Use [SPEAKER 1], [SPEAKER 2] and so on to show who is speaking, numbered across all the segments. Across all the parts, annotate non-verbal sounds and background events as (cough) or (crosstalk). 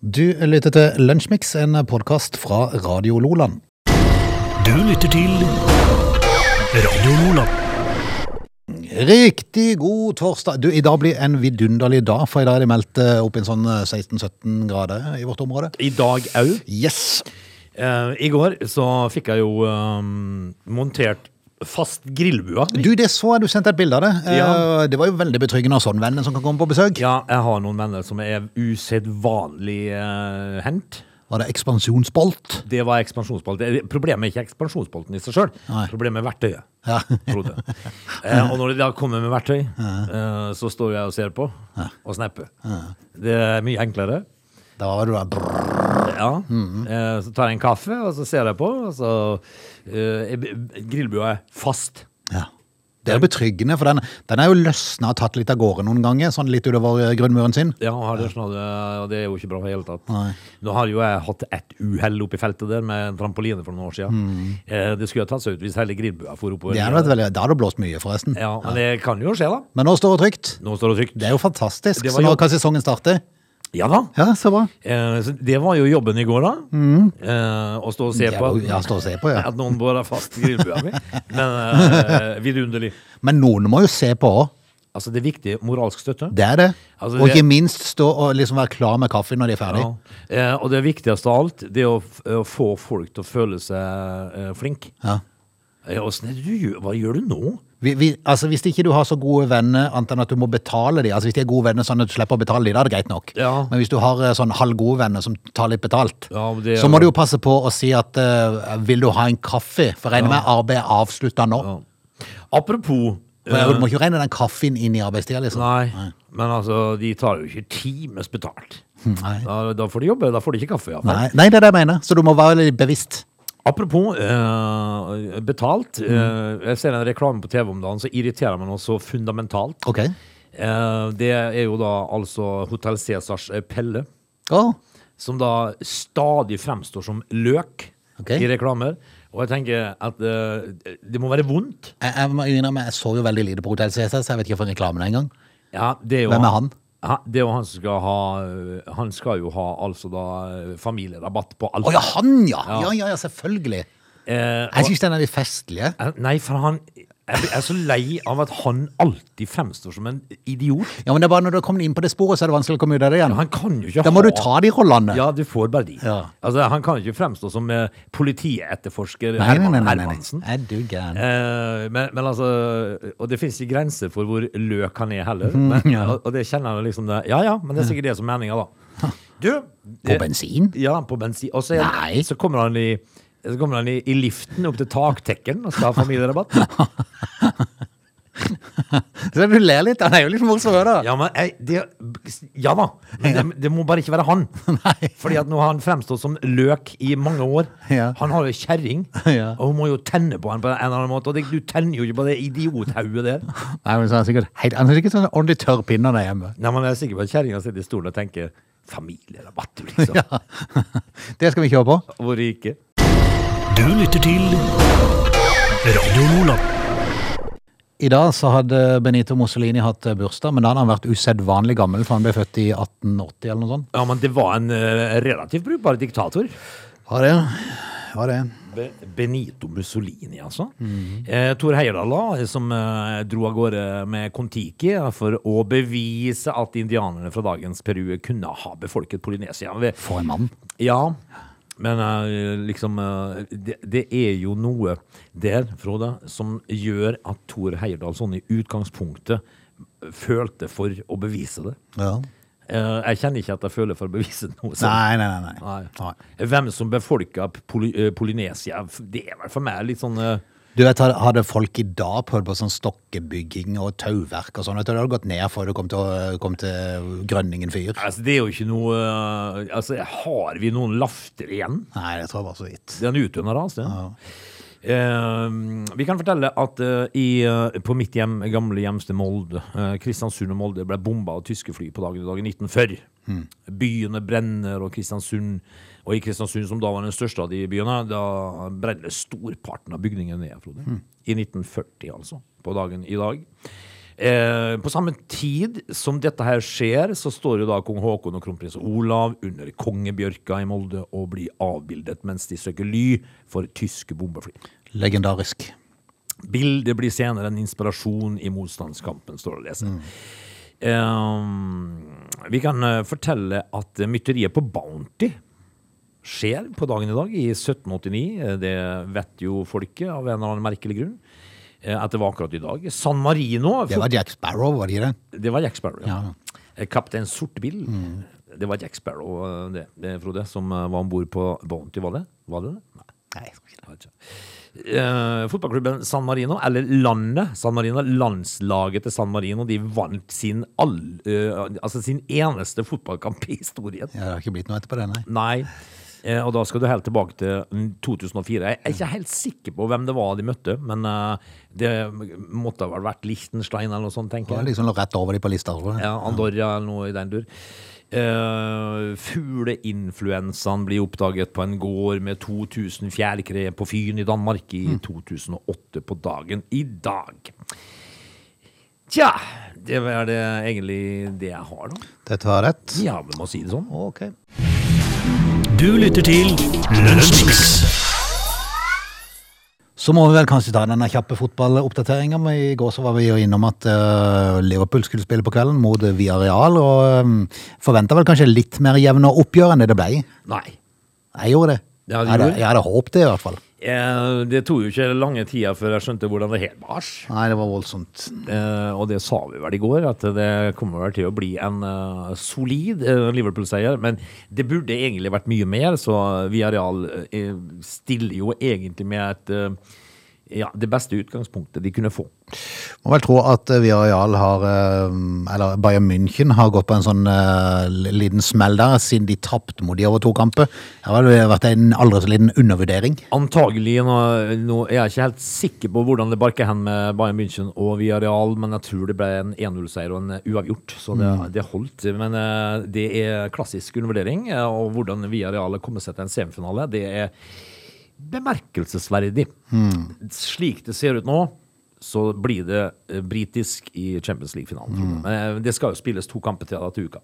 [SPEAKER 1] Du lytter til Lunsjmix, en podkast fra Radio Loland.
[SPEAKER 2] Du lytter til Radio Lola.
[SPEAKER 1] Riktig god torsdag. Du, I dag blir en vidunderlig dag, for i dag er det meldt eh, opp i en sånn eh, 16-17 grader i vårt område.
[SPEAKER 3] I dag òg.
[SPEAKER 1] Yes!
[SPEAKER 3] I går så fikk jeg jo ehm, montert fast grillbua.
[SPEAKER 1] Du, det så jeg du sendte et bilde av det. Eh,
[SPEAKER 3] Ja.
[SPEAKER 1] Det var jo veldig betryggende av sånn venn som kan komme på besøk.
[SPEAKER 3] Ja, jeg har noen venner som er usedvanlig uh, hendt.
[SPEAKER 1] Var det ekspansjonsbolt?
[SPEAKER 3] Det var ekspansjonsbolt. Det- Problemet er ikke ekspansjonsbolten i seg sjøl,
[SPEAKER 1] Nei.
[SPEAKER 3] problemet er verktøyet.
[SPEAKER 1] Ja.
[SPEAKER 3] Frode. Eh, og når de da kommer med verktøy, eh, så står jeg og ser på og snapper. Det er mye enklere.
[SPEAKER 1] Da var du der. brrr.
[SPEAKER 3] Ja.
[SPEAKER 1] Mhm.
[SPEAKER 3] Eh, så tar jeg en kaffe, og så ser jeg på, og så eh, er- Grillbua er fast.
[SPEAKER 1] Ja. Det er betryggende, for den, den er jo løsna og tatt litt av gårde noen ganger. Sånn litt utover eh, grunnmuren sin.
[SPEAKER 3] Ja, han har det, sånn, og det er jo ikke bra i det hele tatt.
[SPEAKER 1] Nei.
[SPEAKER 3] Nå har jo jeg hatt et uhell oppe i feltet der med en trampoline for noen år siden. Eh, Det skulle ha tatt seg ut hvis hele grillbua for oppover.
[SPEAKER 1] Mm. Det hadde vært veldig, da hadde det blåst mye, forresten.
[SPEAKER 3] Ja, men det kan jo skje, da.
[SPEAKER 1] Men nå står det trygt.
[SPEAKER 3] Nå står det trygt.
[SPEAKER 1] Det er jo fantastisk.
[SPEAKER 3] Det
[SPEAKER 1] Så
[SPEAKER 3] var
[SPEAKER 1] nå
[SPEAKER 3] jobb.
[SPEAKER 1] kan sesongen starte.
[SPEAKER 3] Ja da.
[SPEAKER 1] Ja, så bra.
[SPEAKER 3] Eh, Så det var jo jobben i går, da. Eh, Å stå og se
[SPEAKER 1] Mm. Det
[SPEAKER 3] på
[SPEAKER 1] var jo- ja, stå og se på, ja.
[SPEAKER 3] at noen bårer fast grillbua mi. Men eh, vidunderlig.
[SPEAKER 1] Men noen må jo se på òg.
[SPEAKER 3] Altså, det er viktig moralsk støtte.
[SPEAKER 1] Det er det.
[SPEAKER 3] Altså,
[SPEAKER 1] Og
[SPEAKER 3] det-
[SPEAKER 1] ikke minst stå og liksom være klar med kaffe når de er ferdig.
[SPEAKER 3] Ja. Eh, Og det viktigste av alt, det er å, f- å få folk til å føle seg eh, flink.
[SPEAKER 1] Ja.
[SPEAKER 3] Ja, åssen er det du gjør? Hva gjør du nå?
[SPEAKER 1] Vi, vi, altså, hvis ikke du har så gode venner, annet enn at du må betale de, altså hvis de er gode venner sånn at du slipper å betale de, da er det greit nok.
[SPEAKER 3] Ja.
[SPEAKER 1] Men hvis du har eh, sånn halvgode venner som tar litt betalt,
[SPEAKER 3] Ja, men det er
[SPEAKER 1] så må du
[SPEAKER 3] jo-
[SPEAKER 1] jo passe på å si at eh, vil du ha en kaffe? For regner med arbeidet er avslutta nå.
[SPEAKER 3] Ja. Apropos eh,
[SPEAKER 1] For Du må ikke regne den kaffen inn i arbeidstida, liksom.
[SPEAKER 3] Nei, men altså, de tar jo ikke times betalt.
[SPEAKER 1] Nei.
[SPEAKER 3] Da, da får de jobbe, da får de ikke kaffe. iallfall.
[SPEAKER 1] Nei, nei, det er det jeg mener. Så du må være litt bevisst.
[SPEAKER 3] Apropos eh, betalt.
[SPEAKER 1] Mm.
[SPEAKER 3] eh, jeg ser en reklame på TV om dagen som irriterer meg noe så fundamentalt.
[SPEAKER 1] Ok.
[SPEAKER 3] Eh, det er jo da altså Hotell Cæsars eh, Pelle,
[SPEAKER 1] Å,
[SPEAKER 3] som da stadig fremstår som løk
[SPEAKER 1] Ok.
[SPEAKER 3] i reklamer. Og jeg tenker at eh, det må være vondt.
[SPEAKER 1] Jeg, jeg, må innrømme, jeg så jo veldig lite på Hotell CSS, jeg vet ikke hvorfor reklamen er engang.
[SPEAKER 3] Ja, det er jo
[SPEAKER 1] Hvem er han?
[SPEAKER 3] Ja, det er jo han som skal ha øh, Han skal jo ha altså da øh, familierabatt på alt.
[SPEAKER 1] Å ja, han ja!
[SPEAKER 3] Ja.
[SPEAKER 1] Ja, ja, ja, selvfølgelig.
[SPEAKER 3] Eh,
[SPEAKER 1] Jeg
[SPEAKER 3] og,
[SPEAKER 1] syns den er litt festlige.
[SPEAKER 3] eh, nei, for han Jeg er så lei av at han alltid fremstår som en idiot.
[SPEAKER 1] Ja, men det er bare når du har kommet inn på det sporet, så er det vanskelig å komme ut av det igjen.
[SPEAKER 3] Han kan jo ikke
[SPEAKER 1] Da må
[SPEAKER 3] ha
[SPEAKER 1] du ta de rollene.
[SPEAKER 3] Ja, du får bare de.
[SPEAKER 1] Ja.
[SPEAKER 3] Altså, han kan ikke fremstå som eh, politietterforsker
[SPEAKER 1] Nei, nei,
[SPEAKER 3] Herman
[SPEAKER 1] nei. nei, nei,
[SPEAKER 3] Hermansen.
[SPEAKER 1] Er du gæren?
[SPEAKER 3] Eh, men, men altså Og det fins ikke grenser for hvor løk han er heller. Men,
[SPEAKER 1] Mhm, ja.
[SPEAKER 3] og, og det kjenner jeg liksom det. Ja ja, men det er sikkert det som er meninga, da. Du,
[SPEAKER 1] På
[SPEAKER 3] eh,
[SPEAKER 1] bensin?
[SPEAKER 3] Ja, på bensin. Og så, er-
[SPEAKER 1] Nei.
[SPEAKER 3] så kommer han, i, så kommer han i, i liften opp til taktekken og skal ha familierabatt.
[SPEAKER 1] (laughs) Så du ler litt? Han er jo litt morsom, da.
[SPEAKER 3] Ja, men, jeg, det, ja da, men det, det må bare ikke være han.
[SPEAKER 1] (laughs) (laughs) Nei.
[SPEAKER 3] Fordi at nå har han fremstått som løk i mange år.
[SPEAKER 1] Ja.
[SPEAKER 3] Han har jo kjerring,
[SPEAKER 1] (laughs) Ja.
[SPEAKER 3] og hun må jo tenne på han på en eller annen måte. Og det, du tenner jo ikke på det idiothauet der.
[SPEAKER 1] Nei, men så er han sikkert helt, Han er sikkert sånn ordentlig tørr pinne der hjemme.
[SPEAKER 3] Nei, men Jeg er sikker på at kjerringa sitter i stolen og tenker familierabatt, du,
[SPEAKER 1] (laughs)
[SPEAKER 3] liksom.
[SPEAKER 1] Det skal vi kjøre på.
[SPEAKER 3] Hvor rike.
[SPEAKER 2] Du lytter til Radio Lola.
[SPEAKER 1] I dag så hadde Benito Mussolini hatt eh, bursdag, men da hadde han vært usedvanlig gammel, for han ble født i 1880 eller noe sånt.
[SPEAKER 3] Ja, men det var en eh, relativt brukbar diktator.
[SPEAKER 1] Har det. Har det.
[SPEAKER 3] Be- Benito Mussolini, altså. eh, Tor Heyerdahl, da, som eh, dro av gårde med Kon-Tiki eh, for å bevise at indianerne fra dagens Peru kunne ha befolket Polynesia. Vi-
[SPEAKER 1] For en mann.
[SPEAKER 3] Ja, men eh, liksom eh, det, det er jo noe der, Frode, som gjør at Tor Heyerdahl sånn i utgangspunktet eh, følte for å bevise det.
[SPEAKER 1] Ja.
[SPEAKER 3] Eh, Jeg kjenner ikke at jeg føler for å bevise noe. sånt.
[SPEAKER 1] Nei, nei, nei. nei.
[SPEAKER 3] Nei.
[SPEAKER 1] nei.
[SPEAKER 3] Hvem som befolka Poly eh, Polynesia, f- det er vel for meg litt sånn eh,
[SPEAKER 1] Du vet, had- Hadde folk i dag prøvd på sånn stokkebygging og tauverk og sånn, vet du, det hadde gått ned før du kom til, kom til Grønningen fyr.
[SPEAKER 3] Altså, det er jo ikke noe eh, Altså, har vi noen lafter igjen?
[SPEAKER 1] Nei, det tror jeg var så vidt.
[SPEAKER 3] Det er en utøvende ras, det. Eh, vi kan fortelle at eh, i, eh, på mitt hjem, gamle hjemsted Molde, eh, Kristiansund og Molde ble bomba av tyske fly på dagen i dag i 1940. Byene brenner, og Kristiansund Og i Kristiansund, som da var den største av de byene, da brenner storparten av bygningene ned, Frode. I 1940, altså. På dagen i dag. Eh, på samme tid som dette her skjer, så står jo da kong Haakon og kronprins Olav under kongebjørka i Molde og blir avbildet mens de søker ly for tyske bombefly.
[SPEAKER 1] Legendarisk.
[SPEAKER 3] Bildet blir senere en inspirasjon i motstandskampen, står det å lese. Eh, vi kan eh, fortelle at eh, mytteriet på Bounty skjer på dagen i dag, i 1789. Eh, Det vet jo folket av en eller annen merkelig grunn. eh, At det var akkurat i dag. San Marino
[SPEAKER 1] Det var Jack Sparrow, var det ikke det?
[SPEAKER 3] det var Jack Sparrow, ja. Eh, Kaptein Sortebil. Det var Jack Sparrow, eh, det, det Frode, som eh, var om bord på Bounty, var det? Var det det? Nei.
[SPEAKER 1] Nei, jeg tror ikke det.
[SPEAKER 3] jeg vet ikke. Eh, fotballklubben San Marino, eller landet San Marino, landslaget til San Marino, de vant sin, all, eh, altså sin eneste fotballkamp i historien.
[SPEAKER 1] Ja, Det har ikke blitt noe etterpå det, nei.
[SPEAKER 3] Nei. Eh, og da skal du helt tilbake til mm, 2004. Jeg er ikke helt sikker på hvem det var de møtte, men eh, det måtte ha vel vært Liechtenstein eller noe sånt,
[SPEAKER 1] Det
[SPEAKER 3] tenker
[SPEAKER 1] var
[SPEAKER 3] jeg.
[SPEAKER 1] liksom rett over de på lista. tror jeg.
[SPEAKER 3] Ja, Andorra eller noe i den dur. Eh, fugleinfluensaen blir oppdaget på en gård med 2000 fjærkre på Fyn i Danmark i 2008 på dagen i dag. Tja, det er det egentlig det jeg har, da.
[SPEAKER 1] Dette var rett.
[SPEAKER 3] Ja, vi må si det sånn.
[SPEAKER 1] Ok.
[SPEAKER 2] Du lytter til Lunsjmix.
[SPEAKER 1] Så må vi vel kanskje ta denne kjappe fotballoppdateringa. I går så var vi jo innom at eh, Liverpool skulle spille på kvelden mot Villarreal, og um, forventa vel kanskje litt mer jevne oppgjør enn det det ble.
[SPEAKER 3] Nei.
[SPEAKER 1] Jeg gjorde det.
[SPEAKER 3] Ja, du
[SPEAKER 1] jeg,
[SPEAKER 3] gjorde
[SPEAKER 1] hadde,
[SPEAKER 3] det.
[SPEAKER 1] jeg hadde håpet det, i hvert fall.
[SPEAKER 3] Eh, det tok jo ikke lange tida før jeg skjønte hvordan det her var.
[SPEAKER 1] Nei, det var voldsomt.
[SPEAKER 3] Eh, og det sa vi vel i går, at det kommer vel til å bli en eh, solid eh, Liverpool-seier. Men det burde egentlig vært mye mer, så Villarreal eh, stiller jo egentlig med et eh, ja, det beste utgangspunktet de kunne få.
[SPEAKER 1] Må vel tro at eh, Villarreal har eh, Eller Bayern München har gått på en sånn eh, liten smell der, siden de tapte mot de over to kamper. Det har vel vært en aldri så liten undervurdering.
[SPEAKER 3] Antagelig, nå, nå er jeg ikke helt sikker på hvordan det barker hen med Bayern München og Villarreal, men jeg tror det ble en 1-0-seier og en eh, uavgjort, så det,
[SPEAKER 1] Mm.
[SPEAKER 3] det holdt. Men eh, det er klassisk undervurdering, eh, og hvordan Villarreal har kommet seg til en semifinale, det er bemerkelsesverdig.
[SPEAKER 1] Mm.
[SPEAKER 3] Slik det ser ut nå, så blir det eh, britisk i Champions League-finalen. tror jeg. Men eh, det skal jo spilles to kamper til da til uka.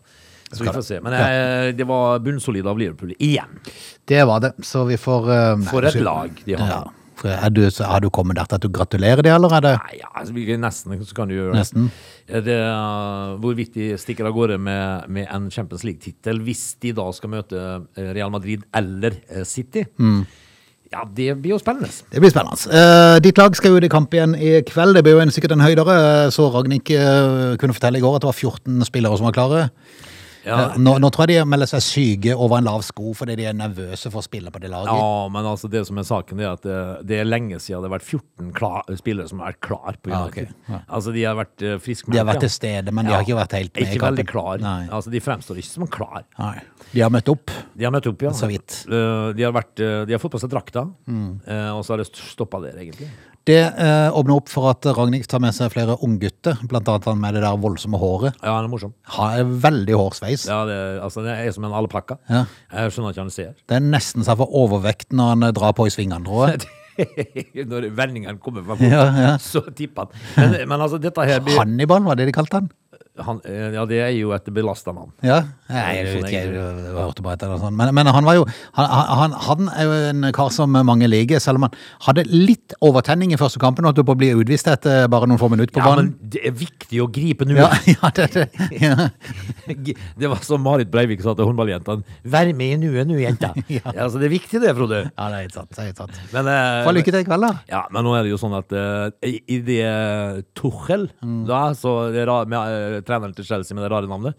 [SPEAKER 3] Så vi
[SPEAKER 1] Mm. Skal
[SPEAKER 3] får
[SPEAKER 1] det.
[SPEAKER 3] se. Men eh, det var bunnsolid av Liverpool igjen.
[SPEAKER 1] Det var det, så vi får eh, nei,
[SPEAKER 3] For et
[SPEAKER 1] så-
[SPEAKER 3] lag de har.
[SPEAKER 1] Ja. For er du, så har du kommet der til at du gratulerer de, eller er det
[SPEAKER 3] Nei, ja, altså, vi- nesten så kan du gjøre det.
[SPEAKER 1] Nesten.
[SPEAKER 3] Er det uh, hvorvidt de stikker av gårde med, med en Champions League-tittel hvis de da skal møte eh, Real Madrid eller eh, City?
[SPEAKER 1] Mm.
[SPEAKER 3] Ja, det blir jo spennende.
[SPEAKER 1] Det blir spennende. Eh, ditt lag skal jo ut i kamp igjen i kveld. Det blir jo en, sikkert en høydere. Så Ragnhild eh, kunne fortelle i går at det var 14 spillere som var klare.
[SPEAKER 3] Ja.
[SPEAKER 1] Eh, Nå, nå tror jeg de melder seg syke over en lav sko fordi de er nervøse for å spille på det laget.
[SPEAKER 3] Ja, men altså det som er saken, det er at eh, det er lenge siden det har vært 14 klar, spillere som har vært klar på
[SPEAKER 1] Ja,
[SPEAKER 3] United.
[SPEAKER 1] ok. Ja.
[SPEAKER 3] Altså de har vært uh,
[SPEAKER 1] De har vært
[SPEAKER 3] ja.
[SPEAKER 1] til stede, men de har ikke vært helt med i
[SPEAKER 3] Ikke veldig
[SPEAKER 1] kampen.
[SPEAKER 3] klar.
[SPEAKER 1] Nei.
[SPEAKER 3] Altså de fremstår ikke som klar.
[SPEAKER 1] Nei. De har møtt opp.
[SPEAKER 3] De har møtt opp, ja.
[SPEAKER 1] Så vidt. Mm.
[SPEAKER 3] Eh, de, har vært, eh, de har fått på seg drakta, eh, og så har det stoppa der, egentlig.
[SPEAKER 1] Det eh, åpner opp for at Ragnhild tar med seg flere unggutter, blant annet han med det der voldsomme håret.
[SPEAKER 3] Ja, han er morsom.
[SPEAKER 1] Har veldig hårsveis.
[SPEAKER 3] Ja, det, altså, det er som en alpakka.
[SPEAKER 1] Ja.
[SPEAKER 3] Jeg skjønner ikke hva han ser. (laughs)
[SPEAKER 1] Det er nesten så jeg får overvekt når han eh, drar på i svingene, tror jeg.
[SPEAKER 3] Når vendingene kommer fra foten,
[SPEAKER 1] Ja, ja.
[SPEAKER 3] (laughs) så tipper han. Men, men altså, dette her blir
[SPEAKER 1] Hannibal, var det de kalte han?
[SPEAKER 3] han, eh, Ja, det er jo et belasta navn.
[SPEAKER 1] Ja, Nei, jeg vet ikke, jeg hørte bare etter det og sånn. Men, men han var jo han, han, han er jo en kar som mange liker, selv om han hadde litt overtenning i første kampen og holdt på å bli utvist etter bare noen få minutter på
[SPEAKER 3] Ja, men
[SPEAKER 1] banen.
[SPEAKER 3] det er viktig å gripe nå. (laughs)
[SPEAKER 1] Ja, (laughs) ja, det, det, ja.
[SPEAKER 3] Det var som Marit Breivik sa til håndballjentene. Vær med i nuet nå, jenta.
[SPEAKER 1] (laughs) Ja.
[SPEAKER 3] Altså, det er viktig det, Frode.
[SPEAKER 1] ja, det er helt sant. det er helt sant.
[SPEAKER 3] Men, eh,
[SPEAKER 1] Få lykke til i kveld, da.
[SPEAKER 3] Ja, men nå er det jo sånn at eh, i- i det Tuchel,
[SPEAKER 1] Mm.
[SPEAKER 3] da, så det ra- med, eh, treneren til Chelsea med det rare navnet,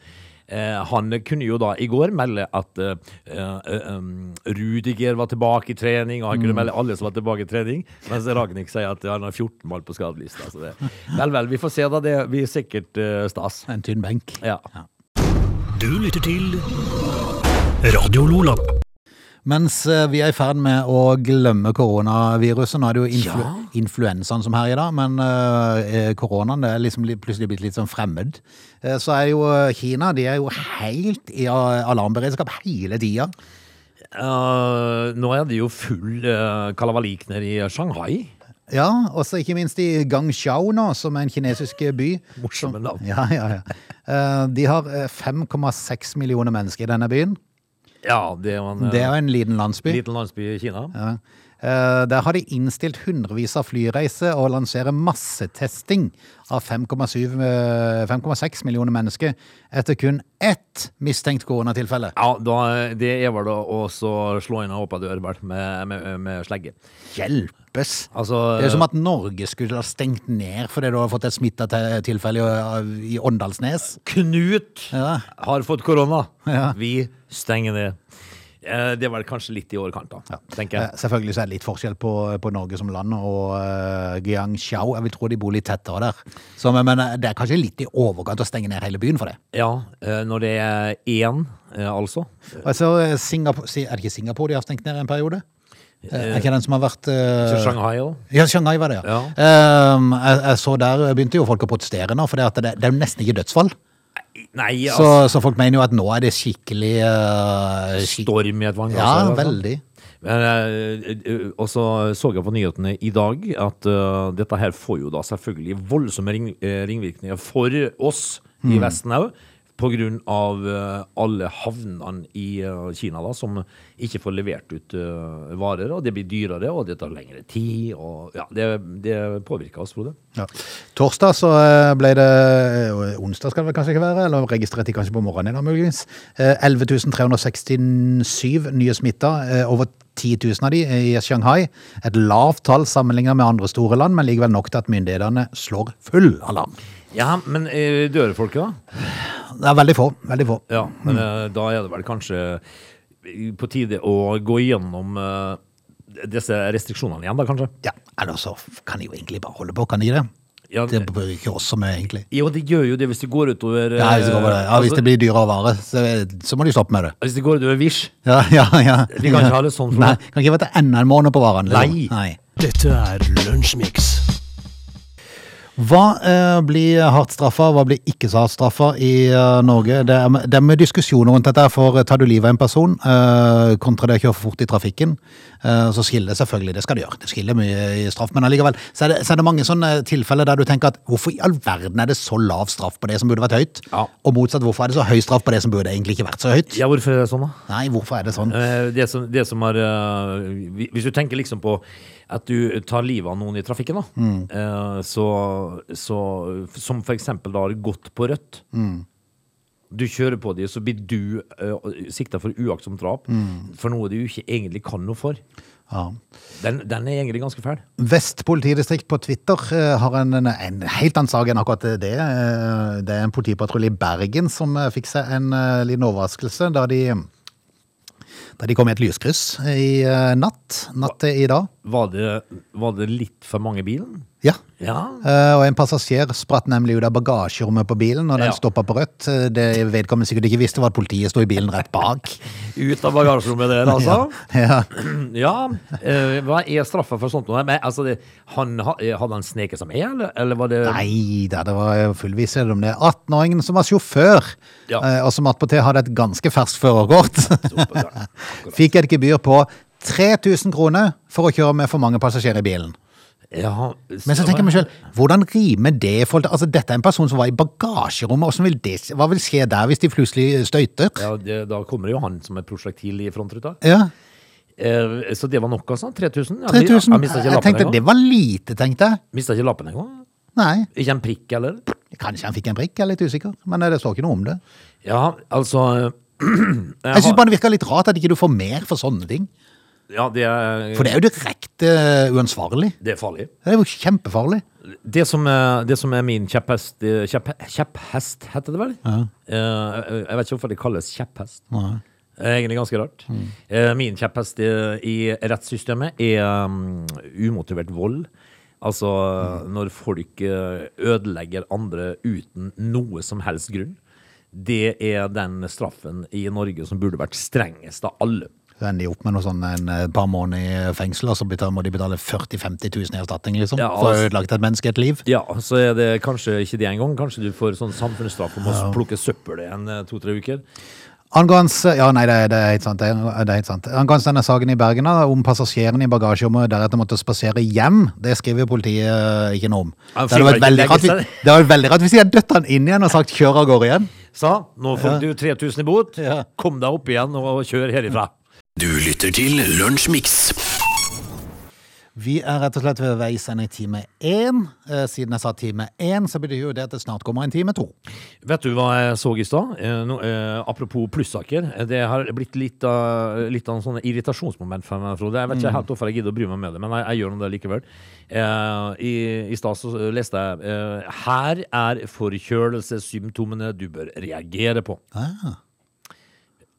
[SPEAKER 3] eh, han kunne jo da i går melde at eh, eh, um, Rudiger var tilbake i trening, og han kunne
[SPEAKER 1] Mm.
[SPEAKER 3] melde alle som var tilbake i trening, mens Ragnhild sier at han har 14 mål på skadelista. Så det. Vel, vel, vi får se da. Det blir sikkert eh, stas.
[SPEAKER 1] En tynn benk.
[SPEAKER 3] Ja.
[SPEAKER 2] Du lytter til Radio Lola.
[SPEAKER 1] Mens eh, vi er i ferd med å glemme koronaviruset, nå er det jo influ
[SPEAKER 3] Ja.
[SPEAKER 1] influensaen som herjer da, men eh, eh, koronaen det er liksom li- plutselig blitt litt sånn fremmed. Eh, så er jo eh, Kina, de er jo helt i a- alarmberedskap hele tida.
[SPEAKER 3] Eh, nå er det jo full uh, kalabalik nede eh, i Shanghai.
[SPEAKER 1] Ja, og så ikke minst i Guangzhou nå, som er en kinesisk eh, by.
[SPEAKER 3] Morsomme navn.
[SPEAKER 1] Ja, ja, ja. Eh, De har eh, 5,6 millioner mennesker i denne byen.
[SPEAKER 3] Ja, det er jo en, eh,
[SPEAKER 1] Det er jo en liten landsby.
[SPEAKER 3] liten landsby i Kina.
[SPEAKER 1] Ja. Eh, Der har de innstilt hundrevis av flyreiser og lanserer massetesting av 5,7, eh, 5,6 millioner mennesker etter kun ett mistenkt koronatilfelle.
[SPEAKER 3] Ja, da, det er vel da også å slå inn en åpen dør vel, med, med, med slegge.
[SPEAKER 1] Hjelpes!
[SPEAKER 3] Altså,
[SPEAKER 1] Det er jo som at Norge skulle ha stengt ned fordi du har fått et smitta te- tilfelle i- i Åndalsnes.
[SPEAKER 3] Knut
[SPEAKER 1] Ja.
[SPEAKER 3] har fått korona.
[SPEAKER 1] Ja.
[SPEAKER 3] Vi stenger ned. Eh, Det er vel kanskje litt i overkant, da, tenker
[SPEAKER 1] Eh,
[SPEAKER 3] jeg.
[SPEAKER 1] Selvfølgelig så er det litt forskjell på, på Norge som land og uh, Guangzhou. Jeg vil tro de bor litt tettere der. Så, men, men eh, det er kanskje litt i overkant å stenge ned hele byen for det.
[SPEAKER 3] Ja, eh, når det er én, eh, altså.
[SPEAKER 1] Altså, eh, Singapore, si- er det ikke Singapore de har stengt ned en periode? Eh, er ikke den som har vært eh,
[SPEAKER 3] Så Shanghai òg.
[SPEAKER 1] ja, Shanghai var det, ja.
[SPEAKER 3] Ja.
[SPEAKER 1] Ehm, jeg, jeg så der begynte jo folk å protestere nå, for det, at det, det er jo nesten ikke dødsfall.
[SPEAKER 3] Nei,
[SPEAKER 1] Så,
[SPEAKER 3] altså.
[SPEAKER 1] så folk mener jo at nå er det skikkelig eh, skik-
[SPEAKER 3] Storm i et vannglass.
[SPEAKER 1] Ja,
[SPEAKER 3] eller noe sånt.
[SPEAKER 1] veldig.
[SPEAKER 3] Men, eh, eh, og så så jeg på nyhetene i dag at eh, dette her får jo da selvfølgelig voldsomme ring, eh, ringvirkninger for oss i Vesten òg. På grunn av eh, alle havnene i eh, Kina da, som ikke får levert ut eh, varer. Og det blir dyrere, og det tar lengre tid. Og, ja, det, det påvirker oss, Frode.
[SPEAKER 1] Ja. Torsdag så eh, ble det eh, Onsdag skal det vel kanskje ikke være, eller registrerte de kanskje på morgenen i dag, muligens. Eh, 11.367 nye smitta, eh, over 10 000 av de i Shanghai. Et lavt tall sammenlignet med andre store land, men likevel nok til at myndighetene slår full alarm.
[SPEAKER 3] Ja, men eh, dør folk, da?
[SPEAKER 1] Det er veldig få. Veldig få.
[SPEAKER 3] Ja, men eh, da er det vel kanskje eh, på tide å gå gjennom eh, disse restriksjonene igjen, da kanskje?
[SPEAKER 1] Ja, eller så kan de jo egentlig bare holde på, kan de ikke det?
[SPEAKER 3] Ja,
[SPEAKER 1] Det bryr ikke oss så mye, egentlig.
[SPEAKER 3] Jo, det gjør jo det hvis det går utover altså,
[SPEAKER 1] Ja, hvis det, går på det. ja, hvis det blir dyrere vare, så, eh, så må de stoppe med det.
[SPEAKER 3] hvis det går utover Wish.
[SPEAKER 1] Ja, ja, ja.
[SPEAKER 3] Vi kan ikke ha det sånn for
[SPEAKER 1] Nei,
[SPEAKER 3] det.
[SPEAKER 1] kan ikke vente enda en måned på varene.
[SPEAKER 3] Nei.
[SPEAKER 1] Nei.
[SPEAKER 2] Dette er Lunsjmix.
[SPEAKER 1] Hva eh, blir hardt straffa, hva blir ikke så hardt straffa i eh, Norge? Det er, det er mye diskusjon rundt dette, for eh, tar du livet av en person eh, kontra det å kjøre for fort i trafikken, eh, så skiller det selvfølgelig, det skal det gjøre, det skiller mye i straff, men allikevel, så er, det, så er det mange sånne tilfeller der du tenker at hvorfor i all verden er det så lav straff på det som burde vært høyt,
[SPEAKER 3] Ja.
[SPEAKER 1] og motsatt, hvorfor er det så høy straff på det som burde egentlig ikke vært så høyt?
[SPEAKER 3] Ja, hvorfor er det sånn, da?
[SPEAKER 1] Nei, hvorfor er det sånn?
[SPEAKER 3] Eh, Det som, det som er eh, hvi- Hvis du tenker liksom på at du tar livet av noen i trafikken, da.
[SPEAKER 1] Mm.
[SPEAKER 3] eh, Så, så Som for eksempel da har gått på rødt.
[SPEAKER 1] Mm.
[SPEAKER 3] Du kjører på dem, så blir du uh, sikta for uaktsomt drap
[SPEAKER 1] Mm.
[SPEAKER 3] for noe du ikke egentlig kan noe for.
[SPEAKER 1] Ja.
[SPEAKER 3] Den, den er egentlig ganske fæl.
[SPEAKER 1] Vest politidistrikt på Twitter eh, har en, en, en helt annen sak enn akkurat det. Eh, Det er en politipatrulje i Bergen som eh, fikk seg en eh, liten overraskelse da de, da de kom i et lyskryss i eh, natt, natt til i dag.
[SPEAKER 3] Var det, var det litt for mange i bilen?
[SPEAKER 1] Ja.
[SPEAKER 3] Ja.
[SPEAKER 1] Eh, Og en passasjer spratt nemlig ut av bagasjerommet på bilen, og den
[SPEAKER 3] Ja.
[SPEAKER 1] stoppa på rødt. Eh, Det vedkommende sikkert ikke visste, var at politiet sto i bilen rett bak. (laughs)
[SPEAKER 3] Ut av bagasjerommet der, altså.
[SPEAKER 1] Ja.
[SPEAKER 3] (clears throat) Ja. eh, hva er straffa for sånt? noe? Men, altså, det, han, ha- eh, hadde han sneket seg med, eller, eller var det
[SPEAKER 1] Nei da, det var full visshet om det. 18-åringen som var sjåfør,
[SPEAKER 3] Ja.
[SPEAKER 1] eh, og som attpåtil hadde et ganske ferskt førerkort, (laughs) fikk et gebyr på 3000 kroner for å kjøre med for mange passasjerer i bilen.
[SPEAKER 3] Ja,
[SPEAKER 1] Men så tenker jeg meg selv, hvordan rimer det i forhold til Altså, dette er en person som var i bagasjerommet, hvordan vil det, hva vil skje der hvis de plutselig støyter? Ja.
[SPEAKER 3] ja, det, Da kommer jo han som et prosjektil i frontruta. Eh, så det var nok, altså? 3000? Ja,
[SPEAKER 1] 3000.
[SPEAKER 3] Han mista ikke
[SPEAKER 1] jeg
[SPEAKER 3] lappen
[SPEAKER 1] tenkte det
[SPEAKER 3] engang?
[SPEAKER 1] var lite, tenkte jeg.
[SPEAKER 3] Mista ikke lappen engang?
[SPEAKER 1] Nei.
[SPEAKER 3] Ikke en prikk, eller?
[SPEAKER 1] Kanskje han fikk en prikk, jeg er litt usikker, men eh, det står ikke noe om det.
[SPEAKER 3] Ja, altså (clears throat) eh,
[SPEAKER 1] Jeg syns bare det virker litt rart at ikke du får mer for sånne ting.
[SPEAKER 3] Ja, det er,
[SPEAKER 1] For det er jo direkte eh, uansvarlig.
[SPEAKER 3] det er farlig.
[SPEAKER 1] Det er jo kjempefarlig.
[SPEAKER 3] Det som, er- det som er min kjepphest eh, kjepp, Kjepphest, heter det vel? Eh, jeg vet ikke hvorfor det kalles kjepphest. Det er Egentlig ganske rart. Eh, min kjepphest eh, i rettssystemet er um, umotivert vold. Altså når folk eh, ødelegger andre uten noe som helst grunn. Det er den straffen i Norge som burde vært strengest av alle.
[SPEAKER 1] Så ender de opp med noe sånn en eh, par måneder i fengsel, og så betal- må de betale 40 000-50 000 i erstatning, liksom.
[SPEAKER 3] Ja,
[SPEAKER 1] For å ha
[SPEAKER 3] altså-
[SPEAKER 1] ødelagt et menneske et liv.
[SPEAKER 3] Ja, så er det kanskje ikke det engang. Kanskje du får sånn samfunnsstraff om å plukke søppel i en eh, to-tre uker.
[SPEAKER 1] Angående Ja, nei, det, det er helt sant. Det, er- det er helt sant. Angående denne saken i Bergen da, om passasjeren i bagasjerommet deretter måtte spasere hjem, det skriver politiet eh, ikke noe om.
[SPEAKER 3] Ja,
[SPEAKER 1] Det hadde vært
[SPEAKER 3] fikk
[SPEAKER 1] veldig
[SPEAKER 3] ikke
[SPEAKER 1] rart, vi-
[SPEAKER 3] legge
[SPEAKER 1] det hadde vært veldig rart hvis de hadde dødt han inn igjen og sagt 'kjør av gårde igjen'.
[SPEAKER 3] Sa nå får du 3000 i bot,
[SPEAKER 1] Ja.
[SPEAKER 3] kom deg opp igjen og kjør herifra.
[SPEAKER 2] Du lytter til Lunsjmix.
[SPEAKER 1] Vi er rett og slett ved veis ende i time én. Eh, Siden jeg sa time én, så betyr jo det at det snart kommer en time to.
[SPEAKER 3] Vet du hva jeg så i stad? Eh, nå, eh, apropos plussaker. eh, Det har blitt litt av, litt av en sånn irritasjonsmoment for meg, Frode. Jeg vet
[SPEAKER 1] Mm.
[SPEAKER 3] ikke helt hvorfor jeg gidder å bry meg med det, men jeg, jeg gjør nå det likevel. Eh, I i stad så eh, leste jeg eh, Her er forkjølelsessymptomene du bør reagere på.
[SPEAKER 1] Ah,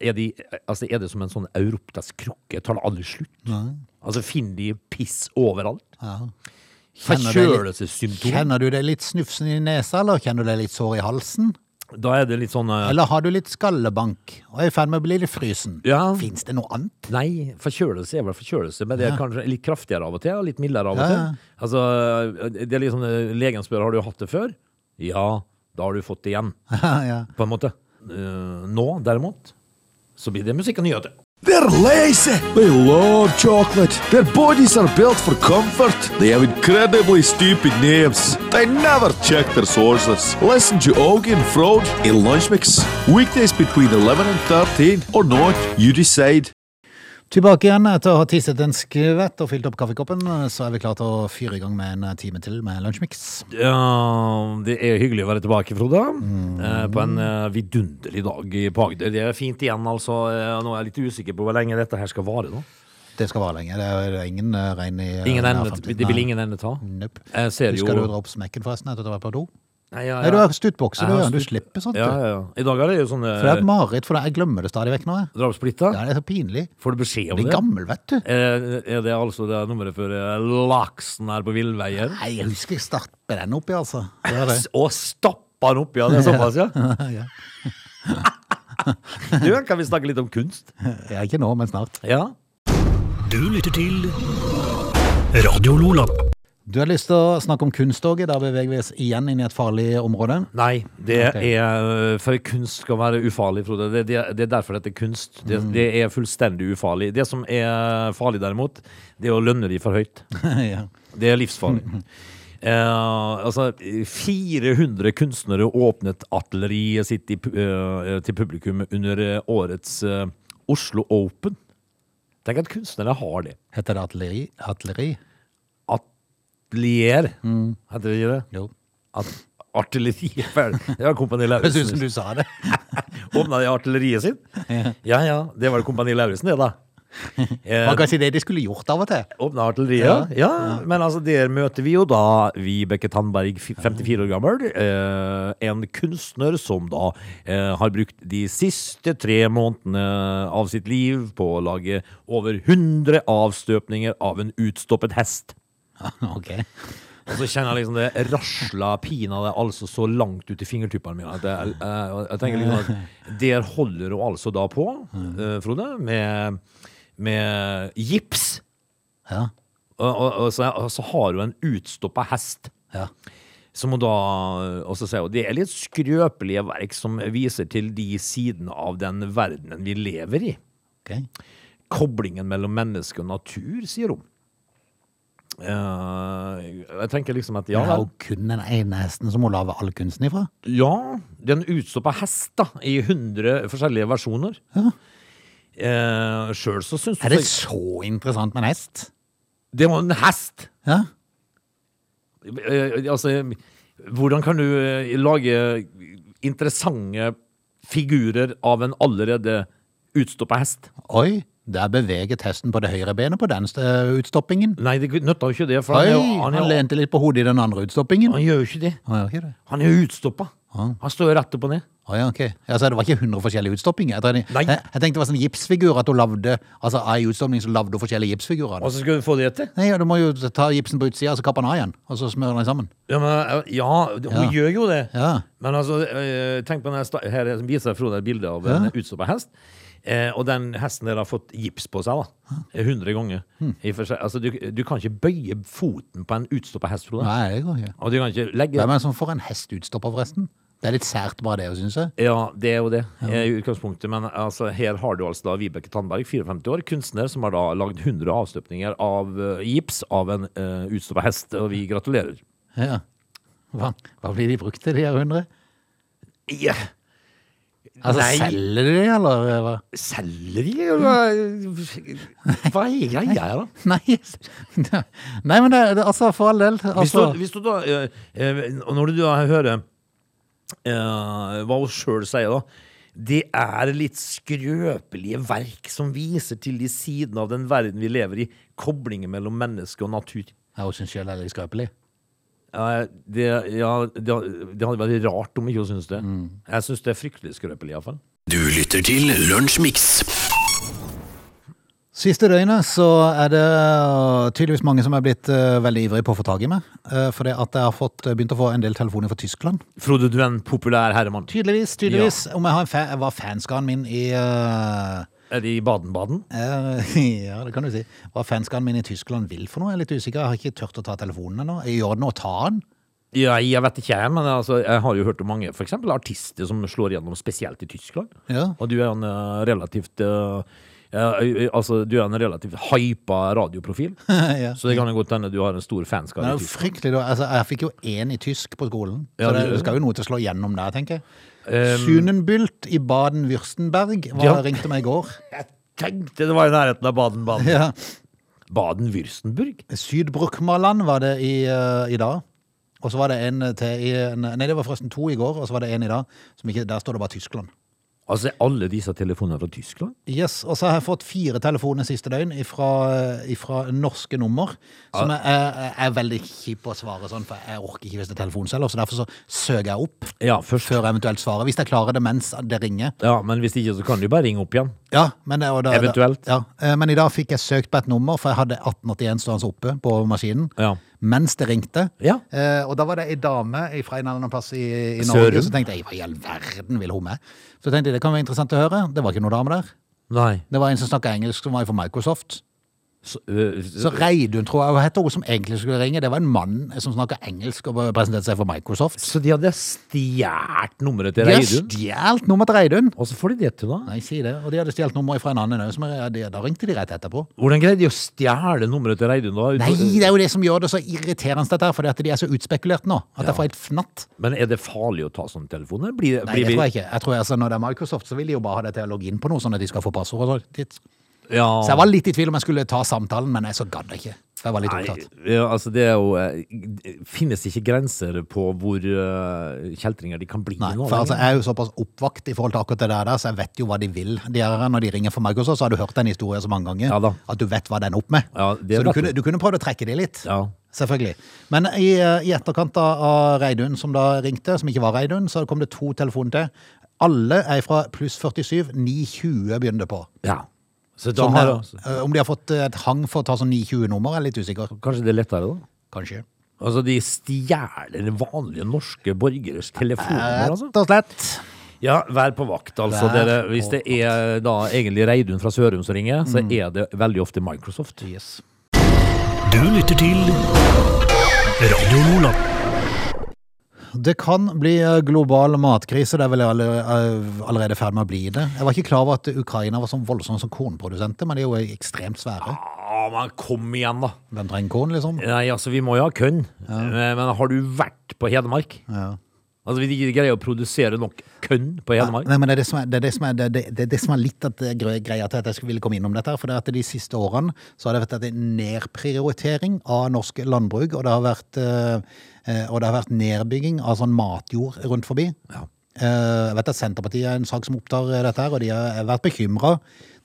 [SPEAKER 3] Er, de, eh, altså, er det som en sånn europeisk krukke? Tar det aldri slutt? Altså, finner de piss overalt?
[SPEAKER 1] ja. Kjenner det litt-
[SPEAKER 3] Forkjølelsessymptom?
[SPEAKER 1] Kjenner du det litt snufsen i nesa, eller kjenner du det litt sår i halsen?
[SPEAKER 3] Da er det litt sånn eh,
[SPEAKER 1] Eller har du litt skallebank og er i ferd med å bli litt frysen?
[SPEAKER 3] Ja.
[SPEAKER 1] Fins det noe annet? (laughs)
[SPEAKER 3] Nei, forkjølelse er vel forkjølelse, men det er kanskje litt kraftigere av og til, og litt mildere av og
[SPEAKER 1] Ja,
[SPEAKER 3] til.
[SPEAKER 1] ja.
[SPEAKER 3] Altså, det er liksom, eh, Legen spør har du hatt det før. Ja, da har du fått det igjen,
[SPEAKER 1] ja.
[SPEAKER 3] på en måte. Eh, nå, derimot, så blir det musikk og nyheter.
[SPEAKER 4] They're lazy. They love chocolate. Their bodies are built for comfort. They have incredibly stupid names. They never check their sources. Listen to Augie and Frode in Lunch Mix. Weekdays between 11 and 13 or not, you decide.
[SPEAKER 1] Tilbake igjen etter å ha tisset en skvett og fylt opp kaffekoppen, så er vi klare til å fyre i gang med en time til med Lunsjmix.
[SPEAKER 3] Ja, det er hyggelig å være tilbake, Frode.
[SPEAKER 1] Mm.
[SPEAKER 3] Eh, på en eh, vidunderlig dag i Agder. Det er fint igjen, altså. Eh, nå er jeg litt usikker på hvor lenge dette her skal vare. nå.
[SPEAKER 1] Det skal vare lenge. Det er ingen eh, regn i eh,
[SPEAKER 3] Ingen
[SPEAKER 1] nær
[SPEAKER 3] ende,
[SPEAKER 1] fremtid.
[SPEAKER 3] det vil
[SPEAKER 1] Nei.
[SPEAKER 3] ingen ende ta.
[SPEAKER 1] Nope.
[SPEAKER 3] Jeg ser jo
[SPEAKER 1] Husker du å dra opp smekken forresten etter at du var på do?
[SPEAKER 3] Nei, ja,
[SPEAKER 1] Nei, du
[SPEAKER 3] ja.
[SPEAKER 1] har stuttbokse,
[SPEAKER 3] Jeg
[SPEAKER 1] du.
[SPEAKER 3] har
[SPEAKER 1] ja. Du
[SPEAKER 3] stutt-
[SPEAKER 1] slipper sånt.
[SPEAKER 3] Ja,
[SPEAKER 1] du.
[SPEAKER 3] ja, ja. I dag er det jo sånn
[SPEAKER 1] For det er et mareritt for deg. Jeg glemmer det stadig vekk nå. jeg.
[SPEAKER 3] Drapsplitta?
[SPEAKER 1] Ja, det er så pinlig.
[SPEAKER 3] Får du beskjed om
[SPEAKER 1] Blir
[SPEAKER 3] det?
[SPEAKER 1] gammel, vet du.
[SPEAKER 3] Er, er det altså det nummeret for eh, laksen her på Villveien?
[SPEAKER 1] Nei, jeg husker jeg stappet den oppi, altså. Det var det.
[SPEAKER 3] S- Og stappa den oppi, ja. Det er såpass, ja.
[SPEAKER 1] (laughs) ja.
[SPEAKER 3] (laughs) Du, kan vi snakke litt om kunst?
[SPEAKER 1] ja, ikke nå, men snart.
[SPEAKER 3] Ja.
[SPEAKER 2] Du lytter til Radio Lola.
[SPEAKER 1] Du har lyst til å snakke om kunsttoget. Da beveger vi oss igjen inn i et farlig område.
[SPEAKER 3] Nei, det
[SPEAKER 1] Ok.
[SPEAKER 3] er For kunst skal være ufarlig, Frode. Det, det, det er derfor dette er kunst. Det,
[SPEAKER 1] Mm.
[SPEAKER 3] det er fullstendig ufarlig. Det som er farlig, derimot, det er å lønne de for høyt.
[SPEAKER 1] (laughs) ja.
[SPEAKER 3] Det er
[SPEAKER 1] Mm-hmm.
[SPEAKER 3] livsfarlig. Eh, altså, 400 kunstnere åpnet atelieret sitt i, pu- eh, til publikum under eh, årets eh, Oslo Open. Tenk at kunstnere har det.
[SPEAKER 1] Heter det atelier? Atelier?
[SPEAKER 3] Atelier,
[SPEAKER 1] Mm.
[SPEAKER 3] heter det ikke det?
[SPEAKER 1] Jo.
[SPEAKER 3] At, artilleri er ferdig. Det var Kompani
[SPEAKER 1] (laughs) Jeg synes som
[SPEAKER 3] Lauritzen.
[SPEAKER 1] du sa det.
[SPEAKER 3] Åpna de artilleriet
[SPEAKER 1] (laughs)
[SPEAKER 3] sitt? Ja ja, det var det Kompani Lauritzen, det, da. Eh,
[SPEAKER 1] Man kan si det de skulle gjort av og til.
[SPEAKER 3] Åpne artilleriet? Ja, men altså, der møter vi jo da Vibeke Tandberg, fi- 54 år gammel. Eh, en kunstner som da eh, har brukt de siste tre månedene av sitt liv på å lage over 100 avstøpninger av en utstoppet hest.
[SPEAKER 1] (laughs) Ok.
[SPEAKER 3] Og så kjenner jeg liksom det rasla pinadø altså så langt ut i fingertuppene mine at jeg, jeg, jeg tenker liksom at der holder hun altså da på, eh, Frode, med, med gips.
[SPEAKER 1] Ja.
[SPEAKER 3] Og, og, og, så, og så har hun en utstoppa hest.
[SPEAKER 1] Ja.
[SPEAKER 3] Som hun da og så sier hun, Det er litt skrøpelige verk som viser til de sidene av den verdenen vi lever i.
[SPEAKER 1] Ok.
[SPEAKER 3] Koblingen mellom menneske og natur, sier hun. Eh, jeg tenker liksom at ja
[SPEAKER 1] Men det er
[SPEAKER 3] vel.
[SPEAKER 1] jo kun den ene hesten som hun lager all kunsten ifra.
[SPEAKER 3] Ja, den utstoppa hest da, i 100 forskjellige versjoner.
[SPEAKER 1] Ja.
[SPEAKER 3] Eh, Sjøl så syns
[SPEAKER 1] Er det
[SPEAKER 3] hun
[SPEAKER 1] så interessant med en hest?
[SPEAKER 3] Det var en hest!
[SPEAKER 1] Ja.
[SPEAKER 3] Eh, Altså, hvordan kan du eh, lage interessante figurer av en allerede utstoppa hest?
[SPEAKER 1] Oi, der beveget hesten på det høyre benet på den eh, utstoppingen.
[SPEAKER 3] Nei, det nytta jo ikke det. For
[SPEAKER 1] Oi,
[SPEAKER 3] han, er jo,
[SPEAKER 1] han,
[SPEAKER 3] han, er,
[SPEAKER 1] lente litt på hodet i den andre utstoppingen.
[SPEAKER 3] han gjør jo ikke det.
[SPEAKER 1] Han gjør ikke det.
[SPEAKER 3] Han er jo utstoppa. Han står jo rett opp og ned.
[SPEAKER 1] Å ja, ok. Altså, det var ikke 100 forskjellige utstoppinger. Jeg, tenkte-
[SPEAKER 3] Nei.
[SPEAKER 1] jeg, jeg tenkte det var sånn gipsfigur at hun lavde, altså av en utstoppning så lavde hun forskjellige gipsfigurer.
[SPEAKER 3] Og så skal du få det etter?
[SPEAKER 1] Nei, ja, du må jo ta gipsen på utsida, så kapper den av igjen, og så smører den sammen.
[SPEAKER 3] Ja, men, eh, ja hun
[SPEAKER 1] Ja.
[SPEAKER 3] gjør jo det.
[SPEAKER 1] Ja.
[SPEAKER 3] Men altså, eh, tenk på denne sta- Her viser jeg Frode et bilde av en utstoppa hest. Eh, og den hesten der har fått gips på seg da 100 ganger.
[SPEAKER 1] Hmm.
[SPEAKER 3] I for seg, altså, du, du kan ikke bøye foten på en utstoppa hest, Frode.
[SPEAKER 1] Nei, det går ikke.
[SPEAKER 3] Og du kan ikke legge
[SPEAKER 1] Hvem er det som får en hestutstopper, forresten? Det er litt sært bare det, syns jeg.
[SPEAKER 3] Ja, det er jo det eh, i utgangspunktet. Men altså, her har du altså da Vibeke Tandberg, 54 år, kunstner som har da lagd 100 avstøpninger av eh, gips av en uh, utstoppa hest. Og vi gratulerer.
[SPEAKER 1] Ja. Hva, hva blir de brukt til, de her hundre?
[SPEAKER 3] Ja,
[SPEAKER 1] Altså,
[SPEAKER 3] Nei.
[SPEAKER 1] Selger de de, eller? eh, hva? (laughs)
[SPEAKER 3] Selleri? Hva, hva er greia her, da?
[SPEAKER 1] Nei, (laughs) Nei men det, det, altså, for all del.
[SPEAKER 3] Hvis
[SPEAKER 1] Altså,
[SPEAKER 3] du, hvis du da eh, eh, Og når du da hører eh, hva hun sjøl sier, da. Det er litt skrøpelige verk som viser til de sidene av den verden vi lever i, koblingen mellom menneske og natur.
[SPEAKER 1] ja, hun syns sjøl det er litt skrøpelig.
[SPEAKER 3] Ja, det, ja, det, det hadde vært rart om ikke hun syntes det. Jeg syns det er fryktelig skrøpelig, iallfall.
[SPEAKER 2] Du lytter til Lunsjmix.
[SPEAKER 1] Siste døgnet så er det øh, tydeligvis mange som er blitt øh, veldig ivrige på å få tak i meg. Uh, for det at jeg har fått, begynt å få en del telefoner fra Tyskland.
[SPEAKER 3] Frode, du er en populær herremann.
[SPEAKER 1] Tydeligvis. tydeligvis. Om jeg, har en fa jeg var fanskaren min i øh,
[SPEAKER 3] Er det i Baden-Baden?
[SPEAKER 1] eh, (laughs) Ja, det kan du si. Hva fanskaren min i Tyskland vil for noe, jeg er litt usikker. Jeg har ikke turt å ta telefonen ennå. Jeg Gjør det nå å ta den?
[SPEAKER 3] Ja, jeg vet ikke, jeg, men altså, jeg har jo hørt om mange for eksempel artister som slår gjennom, spesielt i Tyskland.
[SPEAKER 1] Ja.
[SPEAKER 3] Og du er en eh, relativt eh, eh, eh, Altså, du er en relativt hypa (laughs) radioprofil,
[SPEAKER 1] (laughs) ja.
[SPEAKER 3] så det kan jo godt hende du har en stor
[SPEAKER 1] Det
[SPEAKER 3] fanskare. i
[SPEAKER 1] er jo
[SPEAKER 3] Tyskland.
[SPEAKER 1] fryktelig da. Altså, jeg fikk jo én i tysk på skolen,
[SPEAKER 3] Ja,
[SPEAKER 1] så det,
[SPEAKER 3] du-
[SPEAKER 1] det skal jo noe til å slå gjennom der, tenker jeg. Sunenbylt i Baden-Würstenberg var-
[SPEAKER 3] Ja.
[SPEAKER 1] ringte meg i går.
[SPEAKER 3] Jeg tenkte det var i nærheten av (laughs) Baden-Baden.
[SPEAKER 1] Ja.
[SPEAKER 3] Baden-Würstenburg?
[SPEAKER 1] Sydbruckmaland var det i, eh, i dag. Og så var det en til i Nei, det var forresten to i går, og så var det en i dag. Som ikke, der står det bare Tyskland.
[SPEAKER 3] Altså, er alle disse telefonene fra Tyskland?
[SPEAKER 1] Yes, Og så har jeg fått fire telefoner siste døgn ifra, eh, ifra norske nummer. Som jeg, jeg, jeg er veldig kjip å svare sånn, for jeg orker ikke hvis det er telefonselger. Så derfor så søker jeg opp
[SPEAKER 3] Ja, først.
[SPEAKER 1] før jeg eventuelt svarer. Hvis jeg klarer det mens det ringer.
[SPEAKER 3] Ja, men hvis ikke, så kan du bare ringe opp igjen.
[SPEAKER 1] Ja, men, det- og da,
[SPEAKER 3] Eventuelt.
[SPEAKER 1] Ja, eh, men i dag fikk jeg søkt på et nummer, for jeg hadde 1881 stående oppe på maskinen.
[SPEAKER 3] Ja.
[SPEAKER 1] Mens det ringte.
[SPEAKER 3] Ja.
[SPEAKER 1] Eh, og da var det ei dame fra en eller annen plass i, i
[SPEAKER 3] Sørum.
[SPEAKER 1] Norge. Så tenkte jeg hva i all verden vil hun med? Så tenkte jeg det kan være interessant å høre. Det var ikke noen dame der.
[SPEAKER 3] Nei.
[SPEAKER 1] Det var en som snakka engelsk, som var fra Microsoft.
[SPEAKER 3] Så, øh,
[SPEAKER 1] Så Reidun, tror jeg, hva heter hun som egentlig skulle ringe? Det var en mann som snakka engelsk og presenterte seg for Microsoft.
[SPEAKER 3] så de hadde stjålet nummeret til
[SPEAKER 1] De har
[SPEAKER 3] Reidun?
[SPEAKER 1] stjålet nummer til Reidun.
[SPEAKER 3] Og så får de det til, da.
[SPEAKER 1] Nei, si det. Og de hadde stjålet nummeret fra en annen òg, da ringte de rett etterpå.
[SPEAKER 3] Hvordan greide de å stjele nummeret til Reidun, da?
[SPEAKER 1] Nei, det er jo det som gjør det så irriterende dette her, fordi at de er så utspekulert nå. At jeg får helt fnatt.
[SPEAKER 3] Men er det farlig å ta sånne telefoner? Blir,
[SPEAKER 1] Nei, det tror jeg ikke. Jeg tror altså, Når det er Microsoft, så vil de jo bare ha det til å logge inn på noe, sånn at de skal få passord. og sånt.
[SPEAKER 3] Ja.
[SPEAKER 1] Så jeg var litt i tvil om jeg skulle ta samtalen, men jeg så gadd jeg ikke. For jeg var litt
[SPEAKER 3] Nei,
[SPEAKER 1] opptatt.
[SPEAKER 3] ja, altså det er jo eh, g- Finnes ikke grenser på hvor eh, kjeltringer de kan bli
[SPEAKER 1] Nei,
[SPEAKER 3] nå?
[SPEAKER 1] for altså, Jeg er jo såpass oppvakt i forhold til akkurat det der, så jeg vet jo hva de vil. De her, når de ringer for Microsoft, så har du hørt den historien så mange ganger
[SPEAKER 3] Ja da.
[SPEAKER 1] at du vet hva den er opp med.
[SPEAKER 3] Ja, det
[SPEAKER 1] så du
[SPEAKER 3] vet
[SPEAKER 1] kunne,
[SPEAKER 3] du.
[SPEAKER 1] du kunne prøvd å trekke de litt.
[SPEAKER 3] Ja.
[SPEAKER 1] Selvfølgelig. Men i, i etterkant av av Reidun, som da ringte, som ikke var Reidun, så kom det to telefoner til. Alle er fra pluss 47, 920 begynner det på.
[SPEAKER 3] ja. Så da
[SPEAKER 1] Sånn
[SPEAKER 3] har,
[SPEAKER 1] er- eh, om de har fått eh, et hang for å ta sånn 920-nummer, er jeg litt usikker.
[SPEAKER 3] kanskje det er lettere, da?
[SPEAKER 1] Kanskje.
[SPEAKER 3] Altså, de stjeler vanlige norske borgeres telefonnummer, altså?
[SPEAKER 1] Rett og slett.
[SPEAKER 3] Ja, vær på vakt, altså.
[SPEAKER 1] Eh, Vær
[SPEAKER 3] Dere,
[SPEAKER 1] på Mm.
[SPEAKER 3] hvis det er da egentlig Reidun fra Sørum som ringer, så er det veldig ofte Microsoft.
[SPEAKER 1] Yes.
[SPEAKER 2] Du lytter til Radio Lola.
[SPEAKER 1] Det kan bli eh, global matkrise, det er vel alle- eh, allerede i ferd med å bli det. Jeg var ikke klar over at Ukraina var sånn voldsomme som kornprodusenter, men de er jo ekstremt svære.
[SPEAKER 3] Ja, Ah, men kom igjen, da.
[SPEAKER 1] Hvem trenger korn, liksom?
[SPEAKER 3] Nei, altså, vi må jo ha kønn. Eh, Men har du vært på Hedmark?
[SPEAKER 1] Ja.
[SPEAKER 3] Altså, vi ikke greier å produsere nok kønn på
[SPEAKER 1] Ja,
[SPEAKER 3] Hedmark.
[SPEAKER 1] Nei, men det er det som er, det er, det som er, det, det, det er det som er litt at det er gre- greia til at jeg skulle ville komme innom dette. her, For det er at de siste årene så har det vært at det er nedprioritering av norsk landbruk. Og det har vært, eh, eh, og det har vært nedbygging av sånn matjord rundt forbi.
[SPEAKER 3] Ja.
[SPEAKER 1] Eh, Jeg vet at Senterpartiet er en sak som opptar eh, dette her, og de har vært bekymra.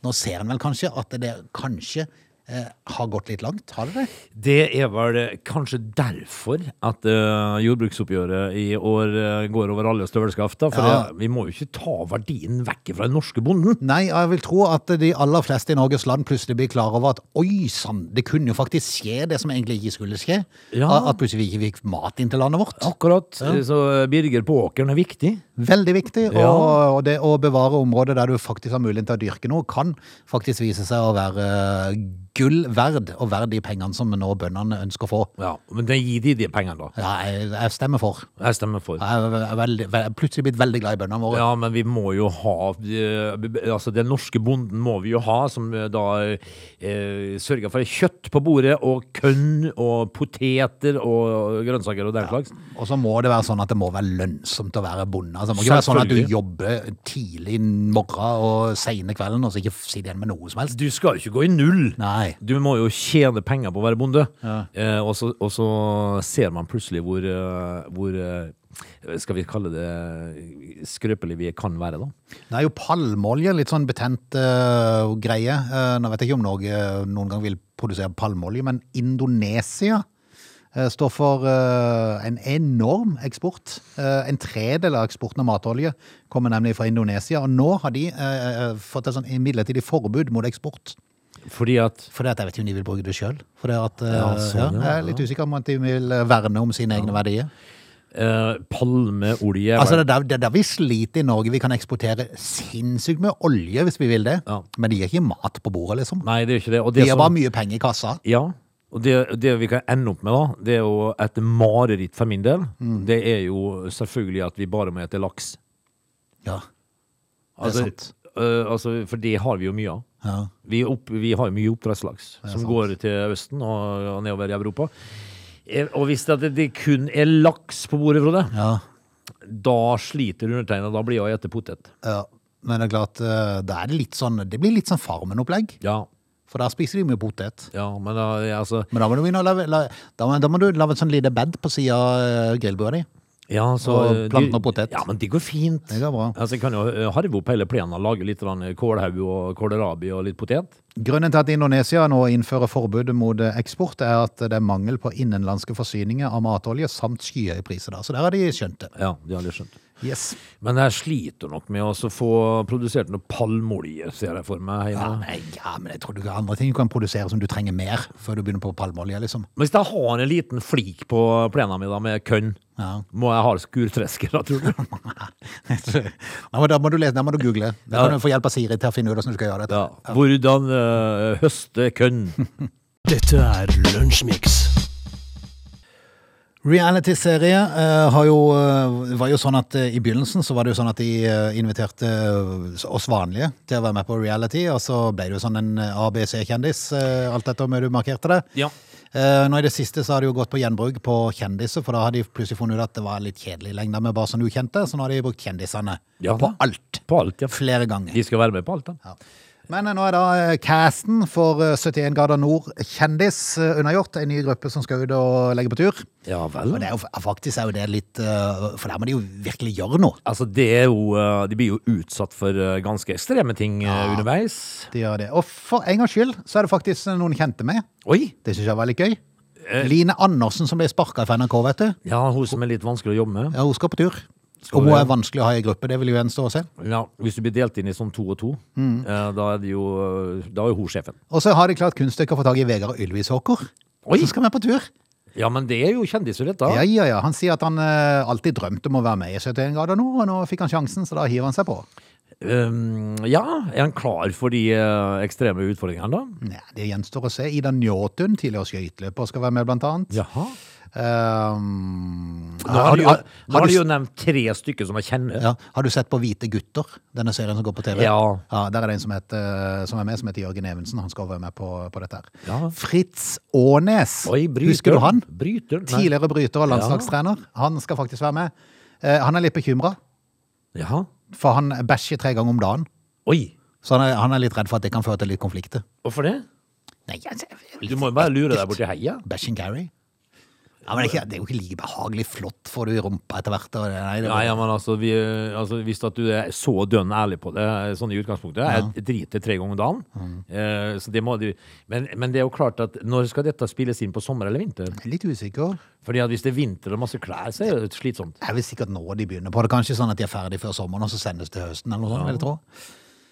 [SPEAKER 1] Nå ser en vel kanskje at det kanskje eh, har gått litt langt. Har det det?
[SPEAKER 3] Det er vel eh, kanskje derfor at eh, jordbruksoppgjøret i år eh, går over alle støvelskafter. For
[SPEAKER 1] Ja.
[SPEAKER 3] eh, vi må jo ikke ta verdien vekk fra den norske bonden.
[SPEAKER 1] Nei, jeg vil tro at de aller fleste i Norges land plutselig blir klar over at oi sann, det kunne jo faktisk skje det som egentlig ikke skulle skje.
[SPEAKER 3] Ja.
[SPEAKER 1] At- At plutselig vi ikke fikk mat inn til landet vårt.
[SPEAKER 3] Akkurat. Så eh, Birger på åkeren er viktig.
[SPEAKER 1] Veldig viktig. Og,
[SPEAKER 3] Ja.
[SPEAKER 1] og det å bevare områder der du faktisk har mulighet til å dyrke noe, kan faktisk vise seg å være eh, gull verd, og verd de pengene som nå bøndene ønsker å få.
[SPEAKER 3] Ja, men det gir de de pengene, da.
[SPEAKER 1] Ja, jeg, jeg stemmer for.
[SPEAKER 3] Jeg stemmer for.
[SPEAKER 1] Jeg er veldig, jeg er plutselig blitt veldig glad i bøndene våre.
[SPEAKER 3] Ja, men vi må jo ha eh, Altså, den norske bonden må vi jo ha, som eh, da eh, sørger for kjøtt på bordet, og kønn, og poteter, og grønnsaker og den slags.
[SPEAKER 1] Og så må det være sånn at det må være lønnsomt å være bonde. Altså, det må ikke være sånn at du
[SPEAKER 3] Selvfølgelig.
[SPEAKER 1] jobber tidlig morgen og sene kvelden, og så ikke sitter igjen med noe som helst.
[SPEAKER 3] Du skal jo ikke gå i null!
[SPEAKER 1] Nei.
[SPEAKER 3] Du må jo tjene penger på å være bonde. Eh, og, så, og så ser man plutselig hvor, eh, hvor eh, Skal vi kalle det skrøpelig vi kan være, da?
[SPEAKER 1] Det er jo palmeolje, litt sånn betent eh, greie. Eh, nå vet jeg ikke om Norge eh, noen gang vil produsere palmeolje, men Indonesia eh, står for eh, en enorm eksport. Eh, en tredel av eksporten av matolje kommer nemlig fra Indonesia, og nå har de eh, fått et sånn midlertidig forbud mot eksport.
[SPEAKER 3] Fordi at
[SPEAKER 1] Fordi at jeg vet ikke om de vil bruke det sjøl. at eh,
[SPEAKER 3] Ja,
[SPEAKER 1] ja,
[SPEAKER 3] sånn, ja,
[SPEAKER 1] jeg er litt usikker om at de vil eh, verne om sine egne verdier.
[SPEAKER 3] eh, palmeolje
[SPEAKER 1] Altså, det er der- det er der vi sliter i Norge. Vi kan eksportere sinnssykt med olje hvis vi vil det.
[SPEAKER 3] Ja.
[SPEAKER 1] Men de gir ikke mat på bordet, liksom.
[SPEAKER 3] Nei, det er ikke det. Og
[SPEAKER 1] De
[SPEAKER 3] det
[SPEAKER 1] gir
[SPEAKER 3] som-
[SPEAKER 1] bare mye penger i kassa.
[SPEAKER 3] Ja, og det, det vi kan ende opp med da, det er jo et mareritt for min del.
[SPEAKER 1] Mm.
[SPEAKER 3] Det er jo selvfølgelig at vi bare må ete laks.
[SPEAKER 1] Ja, det er
[SPEAKER 3] Altså,
[SPEAKER 1] sant.
[SPEAKER 3] øh, altså, for det har vi jo mye av.
[SPEAKER 1] Ja.
[SPEAKER 3] Vi, er opp, vi har jo mye oppdrettslaks som
[SPEAKER 1] sant.
[SPEAKER 3] går til Østen og, og nedover i Europa. Eh, Og hvis det, det kun er laks på bordet, Frode,
[SPEAKER 1] Ja.
[SPEAKER 3] da sliter undertegnet. Da blir jeg å ete potet.
[SPEAKER 1] ja. Men det er klart, eh, da er det litt sånn Det blir litt sånn Farmen-opplegg.
[SPEAKER 3] Ja,
[SPEAKER 1] For der spiser de mye potet.
[SPEAKER 3] ja men da, jeg, altså
[SPEAKER 1] Men da må du begynne å lave, la, da, må- da må du lave et sånn lite bed på sida av eh, grillbua di.
[SPEAKER 3] ja, så,
[SPEAKER 1] Og
[SPEAKER 3] eh, de-
[SPEAKER 1] planten og potet.
[SPEAKER 3] Ja, men det går fint.
[SPEAKER 1] Det går bra.
[SPEAKER 3] Altså, jeg kan jo eh, harve opp hele plenen, lage litt grann eh, kålhaug og kålrabi og litt potet.
[SPEAKER 1] Grunnen til at Indonesia nå innfører forbud mot eh, eksport, er at det er mangel på innenlandske forsyninger av matolje samt skyhøye priser. da. Så der har de skjønt det.
[SPEAKER 3] Ja, det har jeg skjønt.
[SPEAKER 1] Yes.
[SPEAKER 3] Men jeg sliter nok med å så få produsert noe palmeolje, ser jeg for meg.
[SPEAKER 1] Ja,
[SPEAKER 3] hjemme.
[SPEAKER 1] men, ja, men jeg tror du har andre ting du kan produsere som du trenger mer før du begynner på palmeolje, liksom.
[SPEAKER 3] Men hvis jeg har en liten flik på plenen min da, med kønn,
[SPEAKER 1] Ja. (laughs)
[SPEAKER 3] må jeg ha skurtresker, da, tror du?
[SPEAKER 1] Nei, men da må du lese, da må du google. Da kan du få hjelp av Siri til å finne ut hvordan du skal gjøre dette.
[SPEAKER 3] (laughs) Ja. Hvordan eh, høste kønn?
[SPEAKER 2] Dette er Lunsjmix.
[SPEAKER 1] Reality-serie eh, har jo, eh, var jo sånn at eh, i begynnelsen så var det jo sånn at de eh, inviterte eh, oss vanlige til å være med på reality, og så ble det jo sånn en ABC-kjendis, eh, alt etter om du markerte det.
[SPEAKER 3] Ja.
[SPEAKER 1] Eh, nå i det siste så har de jo gått på gjenbruk på kjendiser, for da har de plutselig funnet ut at det var litt kjedelig lengde med bare sånne ukjente, så nå har de brukt kjendisene
[SPEAKER 3] Ja,
[SPEAKER 1] på
[SPEAKER 3] da.
[SPEAKER 1] alt,
[SPEAKER 3] På alt, ja.
[SPEAKER 1] flere ganger.
[SPEAKER 3] De skal være med på alt, da.
[SPEAKER 1] Ja. Men eh, nå er da eh, casten for eh, 71 grader nord kjendis eh, unnagjort. En ny gruppe som skal ut og legge på tur.
[SPEAKER 3] Ja vel.
[SPEAKER 1] Og det er jo, fa- faktisk er jo det litt eh, For der må de jo virkelig gjøre noe.
[SPEAKER 3] Altså, det er jo, eh, de blir jo utsatt for eh, ganske ekstreme ting eh, underveis.
[SPEAKER 1] De gjør det. Og for en gangs skyld så er det faktisk noen kjente med.
[SPEAKER 3] Oi!
[SPEAKER 1] Det syns jeg var litt gøy. Line Andersen som ble sparka fra NRK, vet du.
[SPEAKER 3] Ja, hun som er litt vanskelig å jobbe med.
[SPEAKER 1] Ja, hun skal på tur. Og
[SPEAKER 3] vi-
[SPEAKER 1] hun er vanskelig å ha i gruppe, det vil jo gjenstå å se.
[SPEAKER 3] Ja, hvis du blir delt inn i sånn to og to,
[SPEAKER 1] Mm.
[SPEAKER 3] eh, da er det jo, eh, da er jo hun sjefen.
[SPEAKER 1] Og så har de klart kunststykket å få tak i Vegard Ylvisåker.
[SPEAKER 3] Oi.
[SPEAKER 1] Som skal med på tur.
[SPEAKER 3] Ja, men det er jo kjendiser, dette.
[SPEAKER 1] Ja, ja, ja. Han sier at han eh, alltid drømte om å være med i 71 grader nord, og nå fikk han sjansen, så da hiver han seg på.
[SPEAKER 3] Um, ja, er han klar for de eh, ekstreme utfordringene, da?
[SPEAKER 1] Nei, det gjenstår å se. Ida Njåtun, tidligere skøyteløper, skal være med, blant annet.
[SPEAKER 3] Jaha.
[SPEAKER 1] Ehm,
[SPEAKER 3] Nå har, de jo,
[SPEAKER 1] har, har,
[SPEAKER 3] nå har de
[SPEAKER 1] du,
[SPEAKER 3] jo nevnt tre stykker som jeg kjenner.
[SPEAKER 1] ja, har du sett på Hvite gutter, denne serien som går på TV?
[SPEAKER 3] Ja.
[SPEAKER 1] Der er det en som, heter, eh, som er med, som heter Jørgen Evensen. Han skal være med på, på dette. her.
[SPEAKER 3] Ja.
[SPEAKER 1] Fritz Aanes.
[SPEAKER 3] Oi, bryter.
[SPEAKER 1] Husker du han?
[SPEAKER 3] Bryter, nei.
[SPEAKER 1] Tidligere bryter og landslagstrener. Han skal faktisk være med. Eh, han er litt bekymra,
[SPEAKER 3] Jaha.
[SPEAKER 1] for han bæsjer tre ganger om dagen.
[SPEAKER 3] Oi,
[SPEAKER 1] Så han er, han er litt redd for at det kan føre til litt konflikter.
[SPEAKER 3] hvorfor det?
[SPEAKER 1] Nei, altså, jeg vil
[SPEAKER 3] Du må jo bare lure deg bort i heia.
[SPEAKER 1] Bæsj and carry? Ja, men det er, ikke, det er jo ikke like behagelig flott, får du i rumpa etter hvert. Og, nei, det,
[SPEAKER 3] Nei, ja, men altså, vi, altså Hvis at du er så dønn ærlig på det, sånn i utgangspunktet Jeg driter tre ganger om dagen.
[SPEAKER 1] Mm.
[SPEAKER 3] Eh, så det må du men, men det er jo klart at når skal dette spilles inn? På sommer eller vinter?
[SPEAKER 1] Jeg er litt usikker.
[SPEAKER 3] Fordi at hvis det er vinter og masse klær, så er det jo slitsomt.
[SPEAKER 1] Jeg vil sikkert nå de begynner på det. Kanskje sånn at de er ferdig før sommeren, og så sendes til høsten eller noe sånt. vil jeg tro.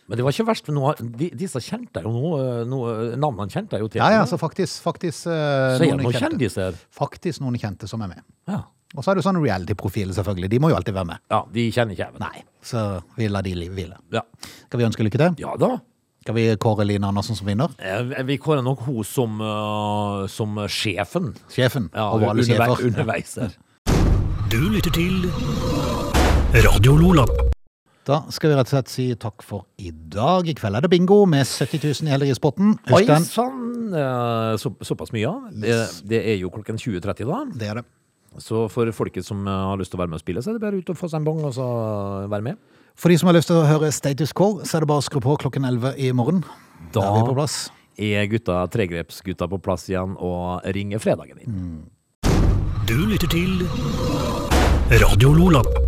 [SPEAKER 3] Men det var ikke verst, for nå, har- de, disse kjente jeg jo nå. eh, nå, eh, Navnene kjente jeg jo til.
[SPEAKER 1] Ja, ja, så faktisk, faktisk eh,
[SPEAKER 3] Så er det noen
[SPEAKER 1] kjente.
[SPEAKER 3] kjendiser.
[SPEAKER 1] Faktisk noen kjente som er med.
[SPEAKER 3] Ja.
[SPEAKER 1] Og så er det sånn reality-profiler, selvfølgelig. De må jo alltid være med.
[SPEAKER 3] ja, de kjenner ikke jeg. vet du.
[SPEAKER 1] Nei, så vi lar de li- hvile.
[SPEAKER 3] Ja.
[SPEAKER 1] Skal vi ønske lykke til?
[SPEAKER 3] ja da.
[SPEAKER 1] Skal vi kåre Line Andersen som vinner?
[SPEAKER 3] Eh, Vi kårer nok hun som, eh, som sjefen.
[SPEAKER 1] Sjefen?
[SPEAKER 3] Ja,
[SPEAKER 1] over alle
[SPEAKER 3] undervei-
[SPEAKER 1] sjefer.
[SPEAKER 3] underveis der.
[SPEAKER 2] Du lytter til Radio Lola.
[SPEAKER 1] Da skal vi rett og slett si takk for i dag. I kveld er det bingo med 70 000 i Helgerispotten.
[SPEAKER 3] Oi
[SPEAKER 1] Husk den.
[SPEAKER 3] sann! eh, Så, såpass mye, ja.
[SPEAKER 1] Yes.
[SPEAKER 3] Det, det er jo klokken 20.30 da.
[SPEAKER 1] Det er det.
[SPEAKER 3] Så for folket som eh, har lyst til å være med og spille, så er det bare ut og få seg en bong og så være med.
[SPEAKER 1] For de som har lyst til å høre Status Quo, så er det bare å skru på klokken 11 i morgen. Da er vi på plass.
[SPEAKER 3] er gutta, tregrepsgutta på plass igjen og ringer fredagen inn.
[SPEAKER 2] Du lytter til Radio Lola.